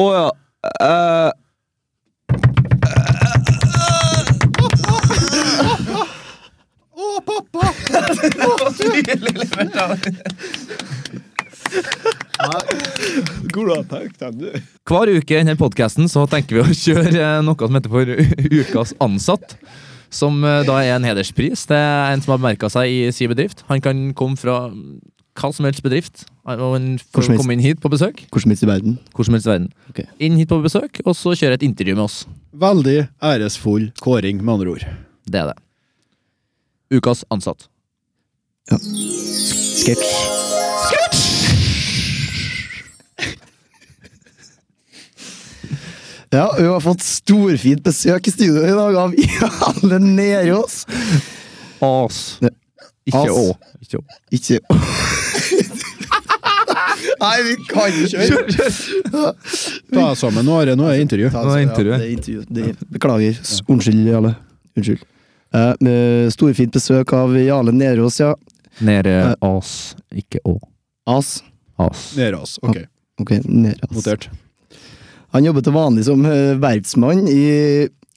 [SPEAKER 5] Å ja. eh,
[SPEAKER 3] Å, pappa!
[SPEAKER 1] Hver uke i denne podcasten så tenker vi å kjøre eh, noe som heter for Ukas ansatt. Som eh, da er en hederspris. Det er en som har bemerka seg i sin bedrift. Han kan komme fra hva som helst bedrift. eh, Og han
[SPEAKER 2] Hvor som
[SPEAKER 1] får
[SPEAKER 2] helst.
[SPEAKER 1] komme inn hit på besøk.
[SPEAKER 2] Hvor som helst i verden.
[SPEAKER 1] Hvor som helst i verden.
[SPEAKER 2] Ok.
[SPEAKER 1] Inn hit på besøk, og så kjøre et intervju med oss.
[SPEAKER 3] Veldig æresfull kåring, med andre ord.
[SPEAKER 1] Det er det. Ukas ansatt.
[SPEAKER 2] Sketsj. Ja, vi har fått storfint besøk i studio i dag av alle nede oss.
[SPEAKER 1] As.
[SPEAKER 2] Ne-
[SPEAKER 1] Ikke
[SPEAKER 2] As.
[SPEAKER 1] å. Ikke å.
[SPEAKER 2] Ikke Nei, vi kan ikke
[SPEAKER 3] Ta deg sammen, nå er det noe intervju.
[SPEAKER 2] Ta,
[SPEAKER 1] Nå er
[SPEAKER 2] ja,
[SPEAKER 1] intervjuet.
[SPEAKER 2] det er intervju- det er- Beklager. S- Unnskyld, Jale. Unnskyld. Eh, med storfint besøk av Jale Nerås, ja.
[SPEAKER 1] Nede
[SPEAKER 2] Eh.
[SPEAKER 1] as. Ikke å.
[SPEAKER 2] As.
[SPEAKER 1] As.
[SPEAKER 3] Nede, altså. Ok,
[SPEAKER 2] Ok, Nerås.
[SPEAKER 3] notert.
[SPEAKER 2] Han jobber til vanlig som eh, verftsmann i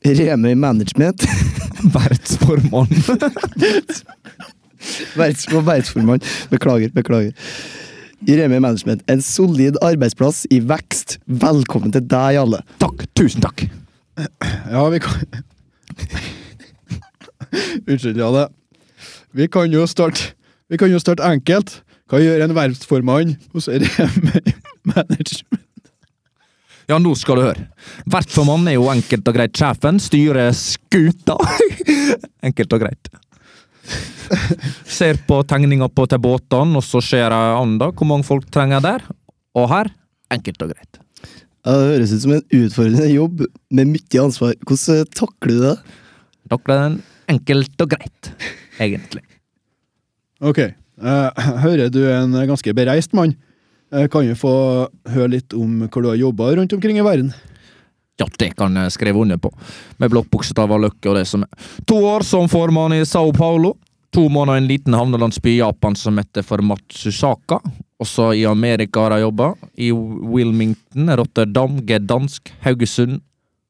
[SPEAKER 2] Remøy Management.
[SPEAKER 1] Vertsformann.
[SPEAKER 2] Verts- og verftsformann. Beklager, beklager. I Remøy Management. En solid arbeidsplass i vekst. Velkommen til deg, Jale.
[SPEAKER 1] Takk. Tusen takk.
[SPEAKER 3] Ja, vi kan Unnskyld, ja det. Vi kan jo starte Vi kan jo starte enkelt. Hva gjør en verftsformann hos Remi Management?
[SPEAKER 1] Ja, nå skal du høre. Vertsformannen er jo enkelt og greit sjefen, styrer skuta. enkelt og greit. Ser på tegninga på til båtene, og så ser jeg an da, hvor mange folk trenger jeg der. Og her enkelt og greit.
[SPEAKER 2] Ja, Det Eh, høres ut som en utfordrende jobb med mye ansvar. Hvordan eh, takler du det?
[SPEAKER 1] Dere er den enkelt og greit, egentlig.
[SPEAKER 3] Ok, eh, hører du er en ganske bereist mann? Eh, kan vi få høre litt om hvor du har jobba rundt omkring i verden?
[SPEAKER 1] Ja, det kan jeg skrive under på. Med blått buksetall av løkke og det som er. To år som formann i Sao Paulo. To måneder i en liten havnelandsby i Japan som heter for Matsusaka. Også i Amerika har jeg jobba. I Wilmington, Rotterdam, Gdansk, Haugesund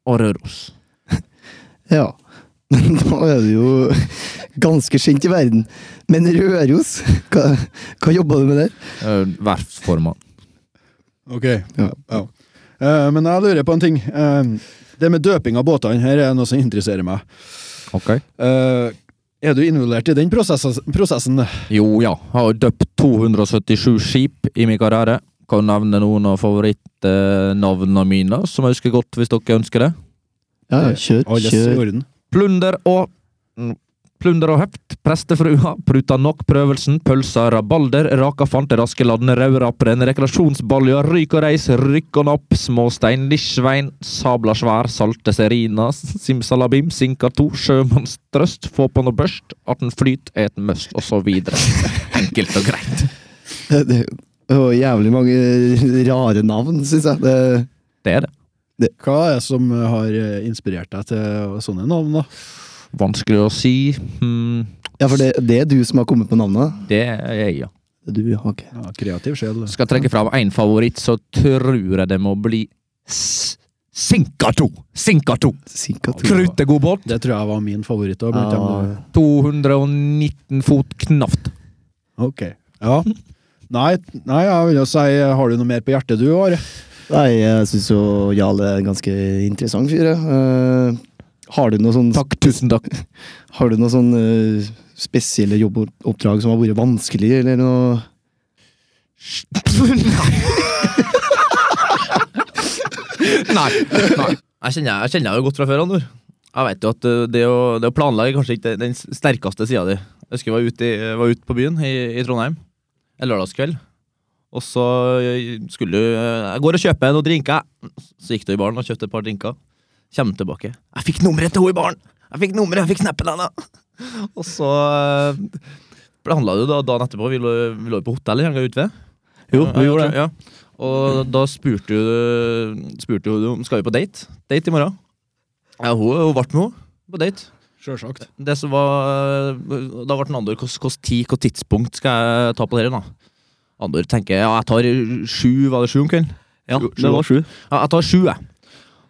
[SPEAKER 1] og Røros.
[SPEAKER 2] Ja, men da er du jo ganske kjent i verden. Men Røros, hva, hva jobba du med der?
[SPEAKER 1] Eh, Verftsformann.
[SPEAKER 3] Ok,
[SPEAKER 2] Ja.
[SPEAKER 3] ja. Eh, men jeg lurer på en ting. Eh, det med døping av båtene her er noe som interesserer meg.
[SPEAKER 1] Ok.
[SPEAKER 3] Eh, er du involvert i den prosessa- prosessen?
[SPEAKER 1] Jo ja, har jo døpt 277 skip i min karriere. Kan nevne noen av favorittnavnene mine, som jeg husker godt, hvis dere ønsker det.
[SPEAKER 2] Ja, kjør,
[SPEAKER 3] Alles i
[SPEAKER 2] kjør.
[SPEAKER 3] orden.
[SPEAKER 1] Plunder og mm, Plunder og høpt, prestefrua, pruta nok prøvelsen, pølsa, rabalder, raka fante raske ladden, raurapren, rekreasjonsbalja, ryk og reis, rykk og napp, småstein, lisjvein, sabla svær, salte serina, simsalabim, sinka to, sjømannstrøst, få på noe børst, atten flyt, et must, og så videre. Enkelt og greit.
[SPEAKER 2] Det det var jævlig mange rare navn, syns jeg. Det,
[SPEAKER 1] Det er det.
[SPEAKER 3] Hva er det som har eh, inspirert deg til sånne navn, da?
[SPEAKER 1] Vanskelig å si. Hmm,
[SPEAKER 2] ja, for det, det er du som har kommet på navnet?
[SPEAKER 1] det er jeg, ja.
[SPEAKER 2] Du har ikke
[SPEAKER 3] Ja, kreativ sjel. du.
[SPEAKER 1] Skal jeg trekke fram én favoritt, så tror jeg det må bli S- Sinka to! Sinka to!
[SPEAKER 2] sikkert
[SPEAKER 1] Krutegod båt.
[SPEAKER 3] Det tror jeg var min favoritt òg.
[SPEAKER 2] Ja.
[SPEAKER 1] 219 fot knapt.
[SPEAKER 3] Ok. Ja. Nei, nei, jeg vil jo si Har du noe mer på hjertet, du, Are?
[SPEAKER 2] Nei, jeg syns jo Jarl er en ganske interessant fyr. jeg. Eh, har du noe sånn
[SPEAKER 1] Takk, tusen takk.
[SPEAKER 2] Har du noen sånne eh, spesielle jobboppdrag som har vært vanskelig, eller noe?
[SPEAKER 1] Nei. Nei. Jeg kjenner jeg kjenner deg jo godt fra før, Anor. Jeg vet jo at eh, det å, det å planlegge kanskje ikke er den sterkeste sida di. Jeg husker jeg var ute, i, var ute på byen i, i Trondheim en lørdagskveld. Og så eh, skulle du eh, Jeg går og kjøper noen drinker. Så gikk du i baren og kjøpte et par drinker. Kommer tilbake. Jeg fikk nummeret til henne i baren! Jeg fikk nummeret, jeg fikk snappen hennes! Og så eh, planla du da dagen etterpå. Vi lå vi lå jo på hotellet en gang ute ved.
[SPEAKER 5] Jo,
[SPEAKER 1] Ja,
[SPEAKER 5] vi gjorde det.
[SPEAKER 1] ja. Og da spurte du, spurte jo du om skal vi på date. Date i morgen. Ja, hun, hun ble med, hun. På date.
[SPEAKER 3] Sjølsagt.
[SPEAKER 1] Det som var Da ble Andor Hvilken tid og tidspunkt skal jeg ta på dere, da? Andor tenker ja, jeg tar sju, var det sju om kvelden?
[SPEAKER 5] Ja, det var sju.
[SPEAKER 1] Ja, jeg tar sju, jeg.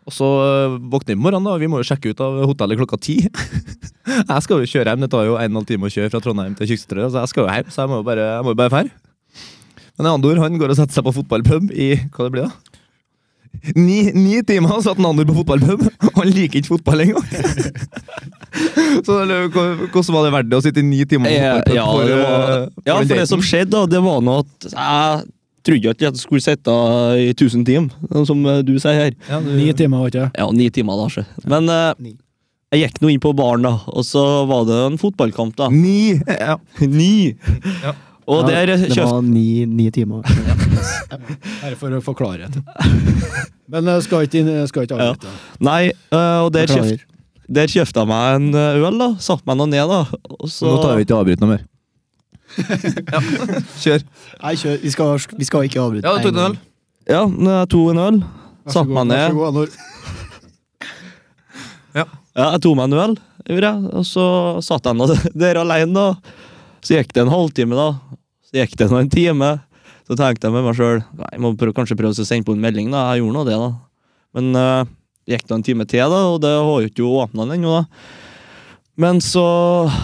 [SPEAKER 1] Og så øh, våkner vi i morgen, da. Vi må jo sjekke ut av hotellet klokka ti. jeg skal jo kjøre hjem. Det tar jo en og en halv time å kjøre fra Trondheim til Kyrksæterøy. Så jeg skal jo hjem, så jeg må jo bare, jeg må jo bare fære. Men Andor han går og setter seg på fotballpub i hva det blir da? Ni, ni timer satt han Andor på fotballpub, og han liker ikke fotball engang! så det, er jo- hvordan var det verdt det å sitte i ni timer på
[SPEAKER 5] Eh,
[SPEAKER 1] fotballpub?
[SPEAKER 5] Ja,
[SPEAKER 1] for,
[SPEAKER 5] det
[SPEAKER 1] øh, for
[SPEAKER 5] var, ja,
[SPEAKER 1] den
[SPEAKER 5] for det
[SPEAKER 1] daten?
[SPEAKER 5] som skjedde, da, det var nå at jeg trodde ikke at jeg skulle sitte i 1000 timer, som eh, du sier her.
[SPEAKER 1] ja, du,
[SPEAKER 3] Ni timer, var ikke det?
[SPEAKER 5] Ja, ni timer, da. sjø. Men eh,
[SPEAKER 2] Ni.
[SPEAKER 5] jeg gikk nå inn på baren, da, og så var det en fotballkamp, da.
[SPEAKER 1] Ni! Ja.
[SPEAKER 5] Ni!
[SPEAKER 1] Ja.
[SPEAKER 5] Og der
[SPEAKER 2] Ja, Det
[SPEAKER 5] kjøpte
[SPEAKER 2] var ni, ni timer.
[SPEAKER 3] Bare for å få klarhet. Men jeg skal ikke, inn- eh, skal ikke
[SPEAKER 5] Ja.
[SPEAKER 3] avbryte.
[SPEAKER 5] Nei, eh, og der
[SPEAKER 2] Beklager.
[SPEAKER 5] kjøpte der kjøpte jeg meg en eh, øl, da. Satte meg nå ned, da. Og så
[SPEAKER 1] Nå tar vi ikke avbryt noe mer. ja. Kjør.
[SPEAKER 2] Nei, kjør. Vi skal, vi skal ikke avbryte.
[SPEAKER 1] Ja, du tok den vel?
[SPEAKER 5] Ja, jeg tok en øl. Satte
[SPEAKER 3] Vær så
[SPEAKER 5] meg ned.
[SPEAKER 3] god, Anor.
[SPEAKER 5] Ja, jeg tok meg en øl, gjorde jeg. Og så satt jeg nå der alene, da. Så gikk det en halvtime, da. Så gikk det nå en time. Så tenkte jeg med meg sjøl jeg må prøve, kanskje prøve å sende på en melding, da. Jeg gjorde nå det, da. Men eh, gikk det en time til, da, og det har jo ikke åpna den ennå, da. Men så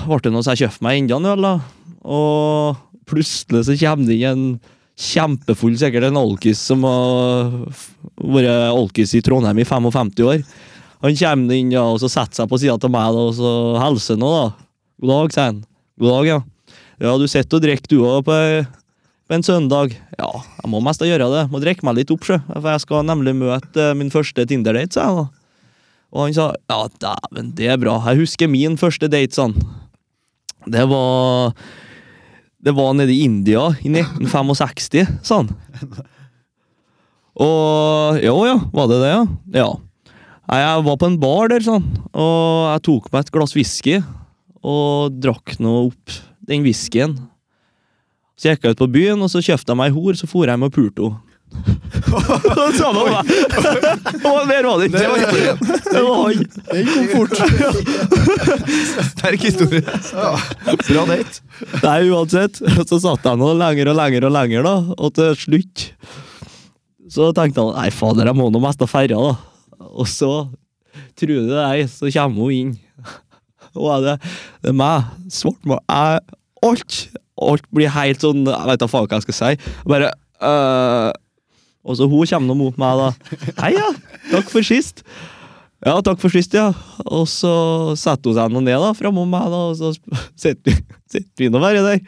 [SPEAKER 5] ble det noe så jeg kjøpte meg enda en øl, da. Og plutselig så kommer det inn en kjempefull, sikkert en alkis som har f- vært alkis i Trondheim i 55 år. Han kommer inn ja, og så setter seg på sida av meg da, og så hilser han. også, da. 'God dag', sier han. 'God dag, ja'. 'Ja, du sitter og drikker du òg på, på en søndag'. 'Ja, jeg må mest gjøre det. Må drikke meg litt opp, sjø. For jeg skal nemlig møte eh, min første Tinder-date', sa jeg da. Og han sa 'Ja, dæven, det er bra. Jeg husker min første date', sa han. Det var Det var nede i India i 1965, sa han. Og Jo ja, var det det, ja? Ja. Nei, jeg var på en bar der, sånn, og jeg tok meg et glass whisky og drakk nå opp den whiskyen. Så gikk jeg ut på byen, og så kjøpte jeg meg ei hor, så for jeg med og pulte henne. Samme var det. Og Mer var det ikke. Det var han.
[SPEAKER 3] Den kom fort.
[SPEAKER 1] Sterk historie. Bra date.
[SPEAKER 5] Nei, uansett. Så satt jeg nå lenger og lenger og lenger, da, og til slutt så tenkte jeg nei, fader, jeg må nå mest ha ferja, da. Og så, tror du det ei, så kommer hun inn. Og er det, det er meg. Svartmål. Jeg Alt alt blir helt sånn Jeg vet da faen hva jeg skal si. Jeg Bare øh, Og så hun kommer nå mot meg, da. Hei, ja. Takk for sist. Ja, takk for sist, ja. Og så setter hun seg nå ned da, framom meg, da, og så sp- sitter vi- sitter vi nå bare der.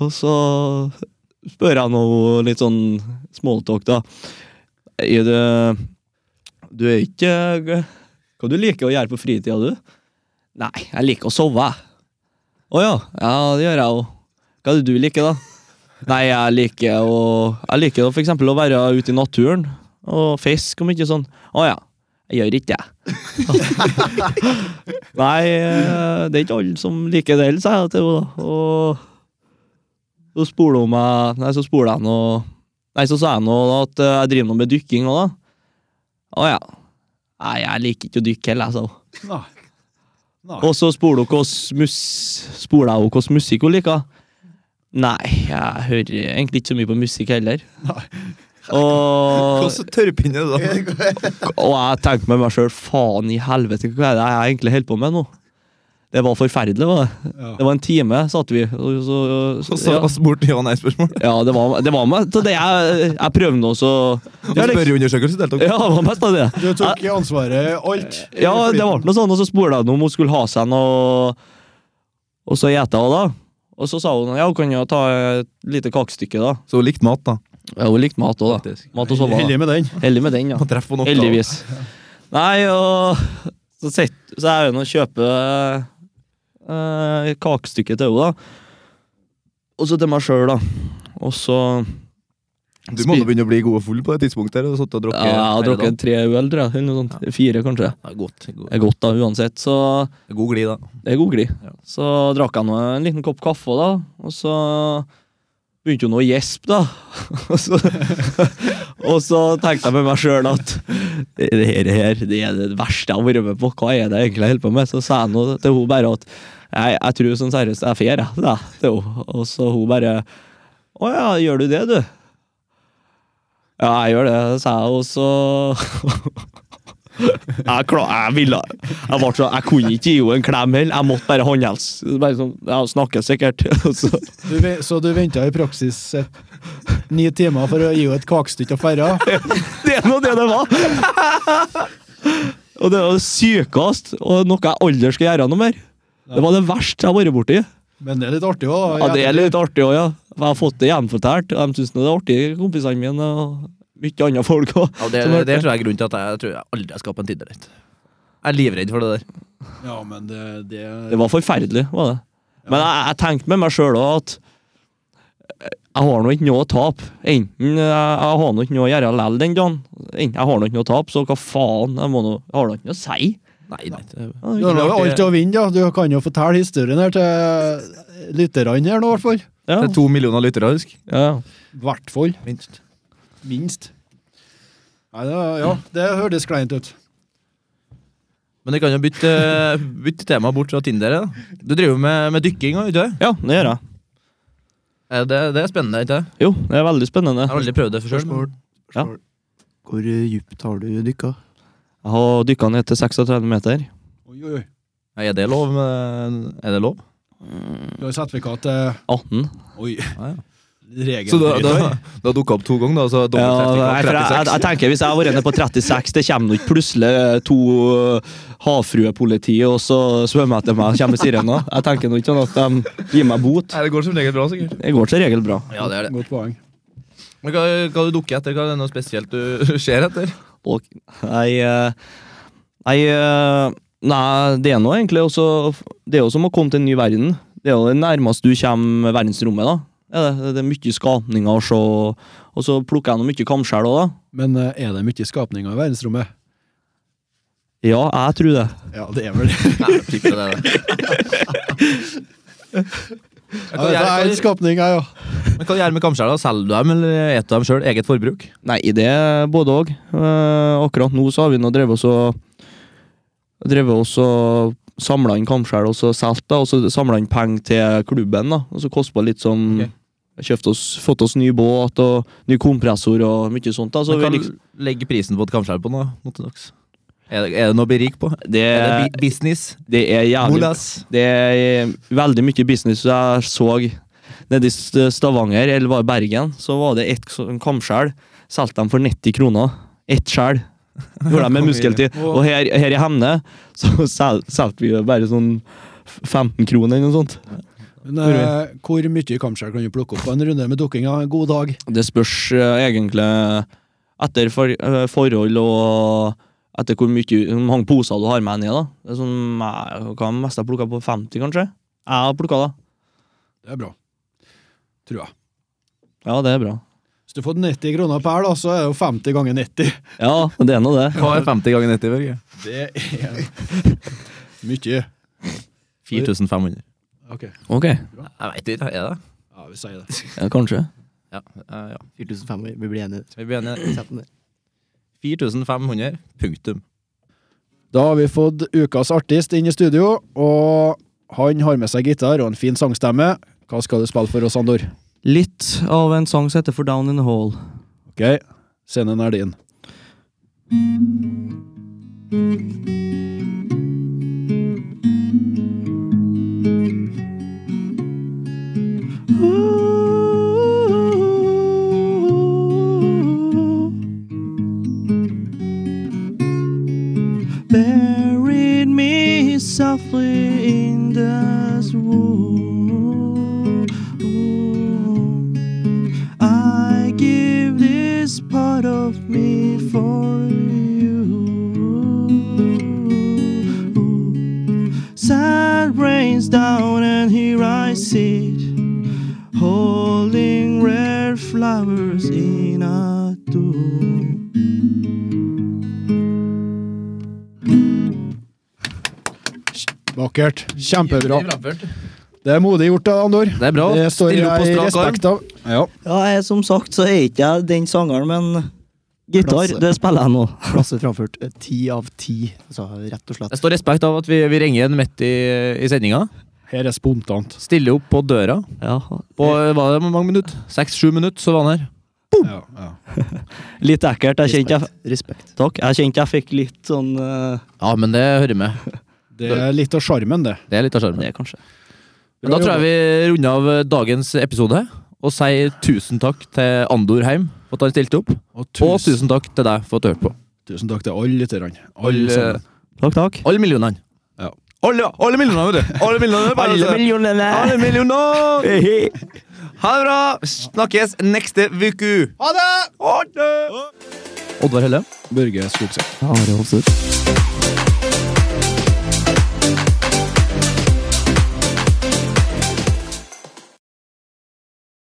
[SPEAKER 5] Og så spør jeg nå litt sånn smalltalk, da. Er det Du er ikke Hva du liker å gjøre på fritida, du? Nei, jeg liker å sove, jeg. Å ja. ja, det gjør jeg òg. Hva er det du liker, da? Nei, jeg liker å Jeg liker å for eksempel å være ute i naturen og fiske og mye sånn. Å ja. Jeg gjør ikke det. Nei, eh, det er ikke alle som liker det heller, sa jeg til henne. da. Og så spoler hun meg Nei, så spoler jeg noe Nei, så sa jeg nå da at eh, jeg driver noe med dykking òg, da. Å ja. Nei, jeg liker ikke å dykke heller, jeg, sa hun.
[SPEAKER 3] Nei. Nei.
[SPEAKER 5] Og så spurte hun hvordan mus- spurte jeg henne hvordan musikk hun liker. Nei, jeg hører egentlig ikke så mye på musikk heller. Og,
[SPEAKER 1] Hvordan tørrpinne er det da?
[SPEAKER 5] og jeg tenkte med meg sjøl faen i helvete, hva er det jeg egentlig holder på med nå? Det var forferdelig, var det.
[SPEAKER 3] Ja.
[SPEAKER 5] Det var en time, satt vi. Og så,
[SPEAKER 1] Og så
[SPEAKER 5] ja,
[SPEAKER 1] og så bort ja- og nei-spørsmål.
[SPEAKER 5] ja, det var, det var meg. Så det jeg, jeg prøvde også
[SPEAKER 1] Og
[SPEAKER 5] ja, det,
[SPEAKER 1] spørreundersøkelse deltok.
[SPEAKER 5] ja, det var mest av det.
[SPEAKER 3] Du tok i ansvaret alt.
[SPEAKER 5] Ja, det ble noe sånn, og så spurte jeg henne om hun skulle ha seg noe Og så gjette hun da Og så sa hun, ja, hun kan jo ta et lite kakestykke da
[SPEAKER 1] Så hun likte mat, da.
[SPEAKER 5] Ja, hun likte mat også da
[SPEAKER 1] Faktisk.
[SPEAKER 5] Mat og sove da
[SPEAKER 3] Heldig med den.
[SPEAKER 5] Heldig med den, ja
[SPEAKER 1] Og treff på noe.
[SPEAKER 5] Heldigvis Nei, og så, sett, så er hun og kjøper eh, kakestykke til henne da Og så til meg selv da Og så
[SPEAKER 1] Du må nå begynne å bli god og full på det tidspunktet. her, Og satt og drukket
[SPEAKER 5] ja, Jeg har
[SPEAKER 1] hele dagen.
[SPEAKER 5] drukket tre øl, tror jeg eller noe sånt. Fire kanskje
[SPEAKER 1] Ja, godt. God,
[SPEAKER 5] Det er godt da, uansett Så
[SPEAKER 1] god glid, da.
[SPEAKER 5] Det er god glid.
[SPEAKER 1] Ja.
[SPEAKER 5] Så drakk jeg nå en liten kopp kaffe, da, og så begynte hun å gjespe, da. og, så, og så tenkte jeg med meg sjøl at det det her, det her det er det verste jeg har vært med på. Hva er det jeg egentlig holder på med? Så sa jeg nå til hun bare at jeg, jeg tror sånn seriøst jeg fer, jeg. da», Til hun. Og så hun bare Å ja, gjør du det, du? Ja, jeg gjør det, sa jeg, og så jeg, klar, jeg, ville, jeg, var så, jeg kunne ikke gi henne en klem heller. Jeg måtte bare håndhilse. Bare sånn, ja, snakke sikkert. Og så,
[SPEAKER 3] Du, ve- så du venta i praksis eh, ni timer for å gi henne et kakestykke å ferde?
[SPEAKER 5] det er nå det det var! Og det var det sykeste, og noe jeg aldri skal gjøre noe mer. Det var det verste jeg har vært borti.
[SPEAKER 3] Men det er litt artig òg.
[SPEAKER 5] Ja, det er litt artig òg, ja. Jeg har fått det gjenfortalt, og de syns det er artig, kompisene mine. og mye andre folk òg.
[SPEAKER 1] Ja, det,
[SPEAKER 5] Som hørte.
[SPEAKER 1] det tror jeg er grunnen til at jeg, jeg tror jeg aldri har skapt en Tinder-date. Jeg er livredd for det der.
[SPEAKER 3] Ja, men det, det,
[SPEAKER 5] Det var forferdelig, var det. Men jeg, jeg tenkte med meg sjøl òg at jeg har nå ikke noe å tape. Enten jeg, jeg har nå ikke noe å gjøre likevel den dagen, enten jeg har nå ikke noe å tape, så hva faen? Jeg, må nå, jeg har nå ikke noe å si.
[SPEAKER 1] Nei, nei. det-
[SPEAKER 5] Ja, det
[SPEAKER 3] Du
[SPEAKER 5] er
[SPEAKER 3] har
[SPEAKER 5] ikke
[SPEAKER 3] jo
[SPEAKER 5] noe
[SPEAKER 3] alt
[SPEAKER 5] artig.
[SPEAKER 3] å vinne, da. Du kan jo fortelle historien her til lytterne her nå, i hvert fall.
[SPEAKER 5] Ja,
[SPEAKER 1] Det er to millioner lyttere, husk.
[SPEAKER 5] ja.
[SPEAKER 3] I hvert fall.
[SPEAKER 1] Minst.
[SPEAKER 3] Minst. Nei, det, ja, det hørtes kleint ut.
[SPEAKER 1] Men vi kan jo bytte, bytte tema bort fra Tinder. Da. Du driver med, med dykking òg, ikke sant?
[SPEAKER 5] ja, det gjør jeg.
[SPEAKER 1] Eh, Det, det er spennende, ikke sant?
[SPEAKER 5] Jo, det er veldig spennende.
[SPEAKER 1] Jeg har aldri prøvd det for sjøl.
[SPEAKER 2] Hvor eh, dypt har du dykka?
[SPEAKER 5] Jeg har dykka ned til 36 meter.
[SPEAKER 3] Oi, oi, oi.
[SPEAKER 1] Er det lov? med- Er det lov?
[SPEAKER 3] Du har sertifikat eh, til
[SPEAKER 5] 18.
[SPEAKER 3] Oi.
[SPEAKER 1] Ja, ja.
[SPEAKER 3] Regelbryter.
[SPEAKER 1] Så da, da, da dukka opp to ganger, da? Så
[SPEAKER 5] Ja,
[SPEAKER 1] dobbelt
[SPEAKER 5] nei, for jeg, jeg, jeg
[SPEAKER 1] 36?
[SPEAKER 5] tenker Hvis jeg har vært nede på 36, det kommer nå ikke plutselig to uh, havfruepoliti og så svømmer etter meg og kommer med sirener. Jeg tenker nå ikke sånn at de gir meg bot.
[SPEAKER 1] Nei, det går som regel bra, sikkert.
[SPEAKER 5] Det går som regel bra.
[SPEAKER 1] Ja, det er det.
[SPEAKER 3] Godt poeng.
[SPEAKER 1] Men hva, hva du dukker etter? Hva er det noe spesielt du ser etter?
[SPEAKER 5] Og nei, eh, nei, eh, nei, det er nå egentlig også Det er jo som å komme til en ny verden. Det er jo det nærmeste du kommer verdensrommet, da. Ja, det, det er mye skapninger å se, og så plukker jeg nå mye kamskjell òg, da.
[SPEAKER 3] Men eh, er det mye skapninger i verdensrommet?
[SPEAKER 5] Ja, jeg tror det.
[SPEAKER 3] Ja, det er vel det.
[SPEAKER 1] Nei, jeg tipper det er det.
[SPEAKER 3] Ja,
[SPEAKER 1] Hva
[SPEAKER 3] det
[SPEAKER 1] gjør
[SPEAKER 3] er en
[SPEAKER 1] hva-
[SPEAKER 3] skapning, ja, ja.
[SPEAKER 1] men hva gjør du med kamskjellene? Selger du dem, eller spiser du dem sjøl? Eget forbruk?
[SPEAKER 5] Nei, det er både òg. Eh, akkurat nå så har vi nå drevet oss og Drevet oss og samla inn kamskjell og så solgt, da, og så samla inn penger til klubben. da, og Så kosta litt som
[SPEAKER 1] Ok.
[SPEAKER 5] kjøpt oss, Fått oss ny båt og ny kompressor og mye sånt. da, så
[SPEAKER 1] Men
[SPEAKER 5] vi
[SPEAKER 1] hva
[SPEAKER 5] liksom,
[SPEAKER 1] legger prisen på et kamskjell på nå? Notodox? Er det, er det noe å bli rik på?
[SPEAKER 5] det,
[SPEAKER 1] Er det bi business?
[SPEAKER 5] det er jævlig
[SPEAKER 1] Molas?
[SPEAKER 5] Det er veldig mye business jeg så nede i St- Stavanger, eller var det Bergen, så var det ett sånn kamskjell. Solgte dem for 90 kroner. Ett skjell. Gjorde de med muskeltid. Og her, her i Hemne så sel- solgte vi jo bare sånn 15 kroner eller noe sånt.
[SPEAKER 3] Men, eh, hvor mye kamskjell kan du plukke opp på en runde med dukkinga? God dag.
[SPEAKER 5] Det spørs eh, egentlig etter for, eh, forhold og etter hvor mye, hvor mange poser du har med ned. da. Det er sånn, eh, hva er det meste jeg plukka på? 50, kanskje? Jeg har plukka det.
[SPEAKER 3] Det er bra. Tror jeg.
[SPEAKER 5] Ja, det er bra.
[SPEAKER 3] Hvis du får 90 kroner per, da, så er det jo 50 ganger 90.
[SPEAKER 5] Ja, det er nå det.
[SPEAKER 1] Hva er 50 ganger 90, Børge?
[SPEAKER 3] Det er mye.
[SPEAKER 1] 4500.
[SPEAKER 3] Ok,
[SPEAKER 5] Ok,
[SPEAKER 1] Jeg veit ikke, er det?
[SPEAKER 3] ja, vi sier det.
[SPEAKER 5] ja, kanskje.
[SPEAKER 1] Ja. eh, ja.
[SPEAKER 2] 4500, vi blir enige.
[SPEAKER 1] Vi begynner
[SPEAKER 2] Sett den der.
[SPEAKER 1] 4500, punktum.
[SPEAKER 3] Da har vi fått ukas artist inn i studio, og han har med seg gitar og en fin sangstemme. Hva skal du spille for oss, Andor?
[SPEAKER 5] Litt av en sang som heter For Down In The Hall.
[SPEAKER 3] Ok, scenen er din.
[SPEAKER 5] Buried me softly in this wood. I give this part of me for you. Sand rains down, and here I sit holding rare flowers in a dome.
[SPEAKER 3] Vakkert. Kjempebra.
[SPEAKER 1] Det
[SPEAKER 3] Det er modig gjort, da, Andor.
[SPEAKER 1] er bra.
[SPEAKER 3] Det står
[SPEAKER 1] Stiller opp på
[SPEAKER 3] jeg i
[SPEAKER 1] strak arm.
[SPEAKER 3] respekt av. Ja.
[SPEAKER 5] Ja, jeg, som sagt så er ikke jeg den sangeren, men gitar,
[SPEAKER 2] Klasse.
[SPEAKER 5] det spiller jeg nå.
[SPEAKER 2] Klasse framført. eh, Ti av ti, altså rett og
[SPEAKER 1] Det
[SPEAKER 2] slett.
[SPEAKER 1] står respekt av at vi, vi ringer en midt i, i sendinga.
[SPEAKER 3] Her er spontant.
[SPEAKER 1] Stiller opp på døra.
[SPEAKER 5] Ja,
[SPEAKER 1] På hva er det, mange minutter? Seks-sju minutter, så var han her.
[SPEAKER 3] Ja, ja.
[SPEAKER 5] litt ekkelt. Jeg kjente jeg,
[SPEAKER 2] Respekt. Respekt.
[SPEAKER 5] takk, jeg kjente jeg fikk litt sånn eh,
[SPEAKER 1] Ja, men det hører med.
[SPEAKER 3] Det er litt av sjarmen, det.
[SPEAKER 1] Det er litt av sjarmen.
[SPEAKER 5] Det, kanskje.
[SPEAKER 1] Men Da tror jeg vi runder av eh, dagens episode og sier tusen takk til Andor Heim for at han stilte opp.
[SPEAKER 3] Og
[SPEAKER 1] Og
[SPEAKER 3] tusen,
[SPEAKER 1] tusen takk til deg for at du hørte på.
[SPEAKER 3] tusen takk til alle lytterne. Alle
[SPEAKER 1] Alle,
[SPEAKER 3] sammen.
[SPEAKER 5] Takk, takk.
[SPEAKER 1] alle millionene.
[SPEAKER 3] Ja.
[SPEAKER 1] Alle, alle millionene, vet du. Alle millionene. bare å si det.
[SPEAKER 5] millionene!
[SPEAKER 1] Alle millionene.
[SPEAKER 5] Hei, hei.
[SPEAKER 1] Ha det bra. Snakkes neste uke. Ha det! Ha det! Oddvar Helle.
[SPEAKER 3] Børge Skogseth.
[SPEAKER 2] Are Hofseth.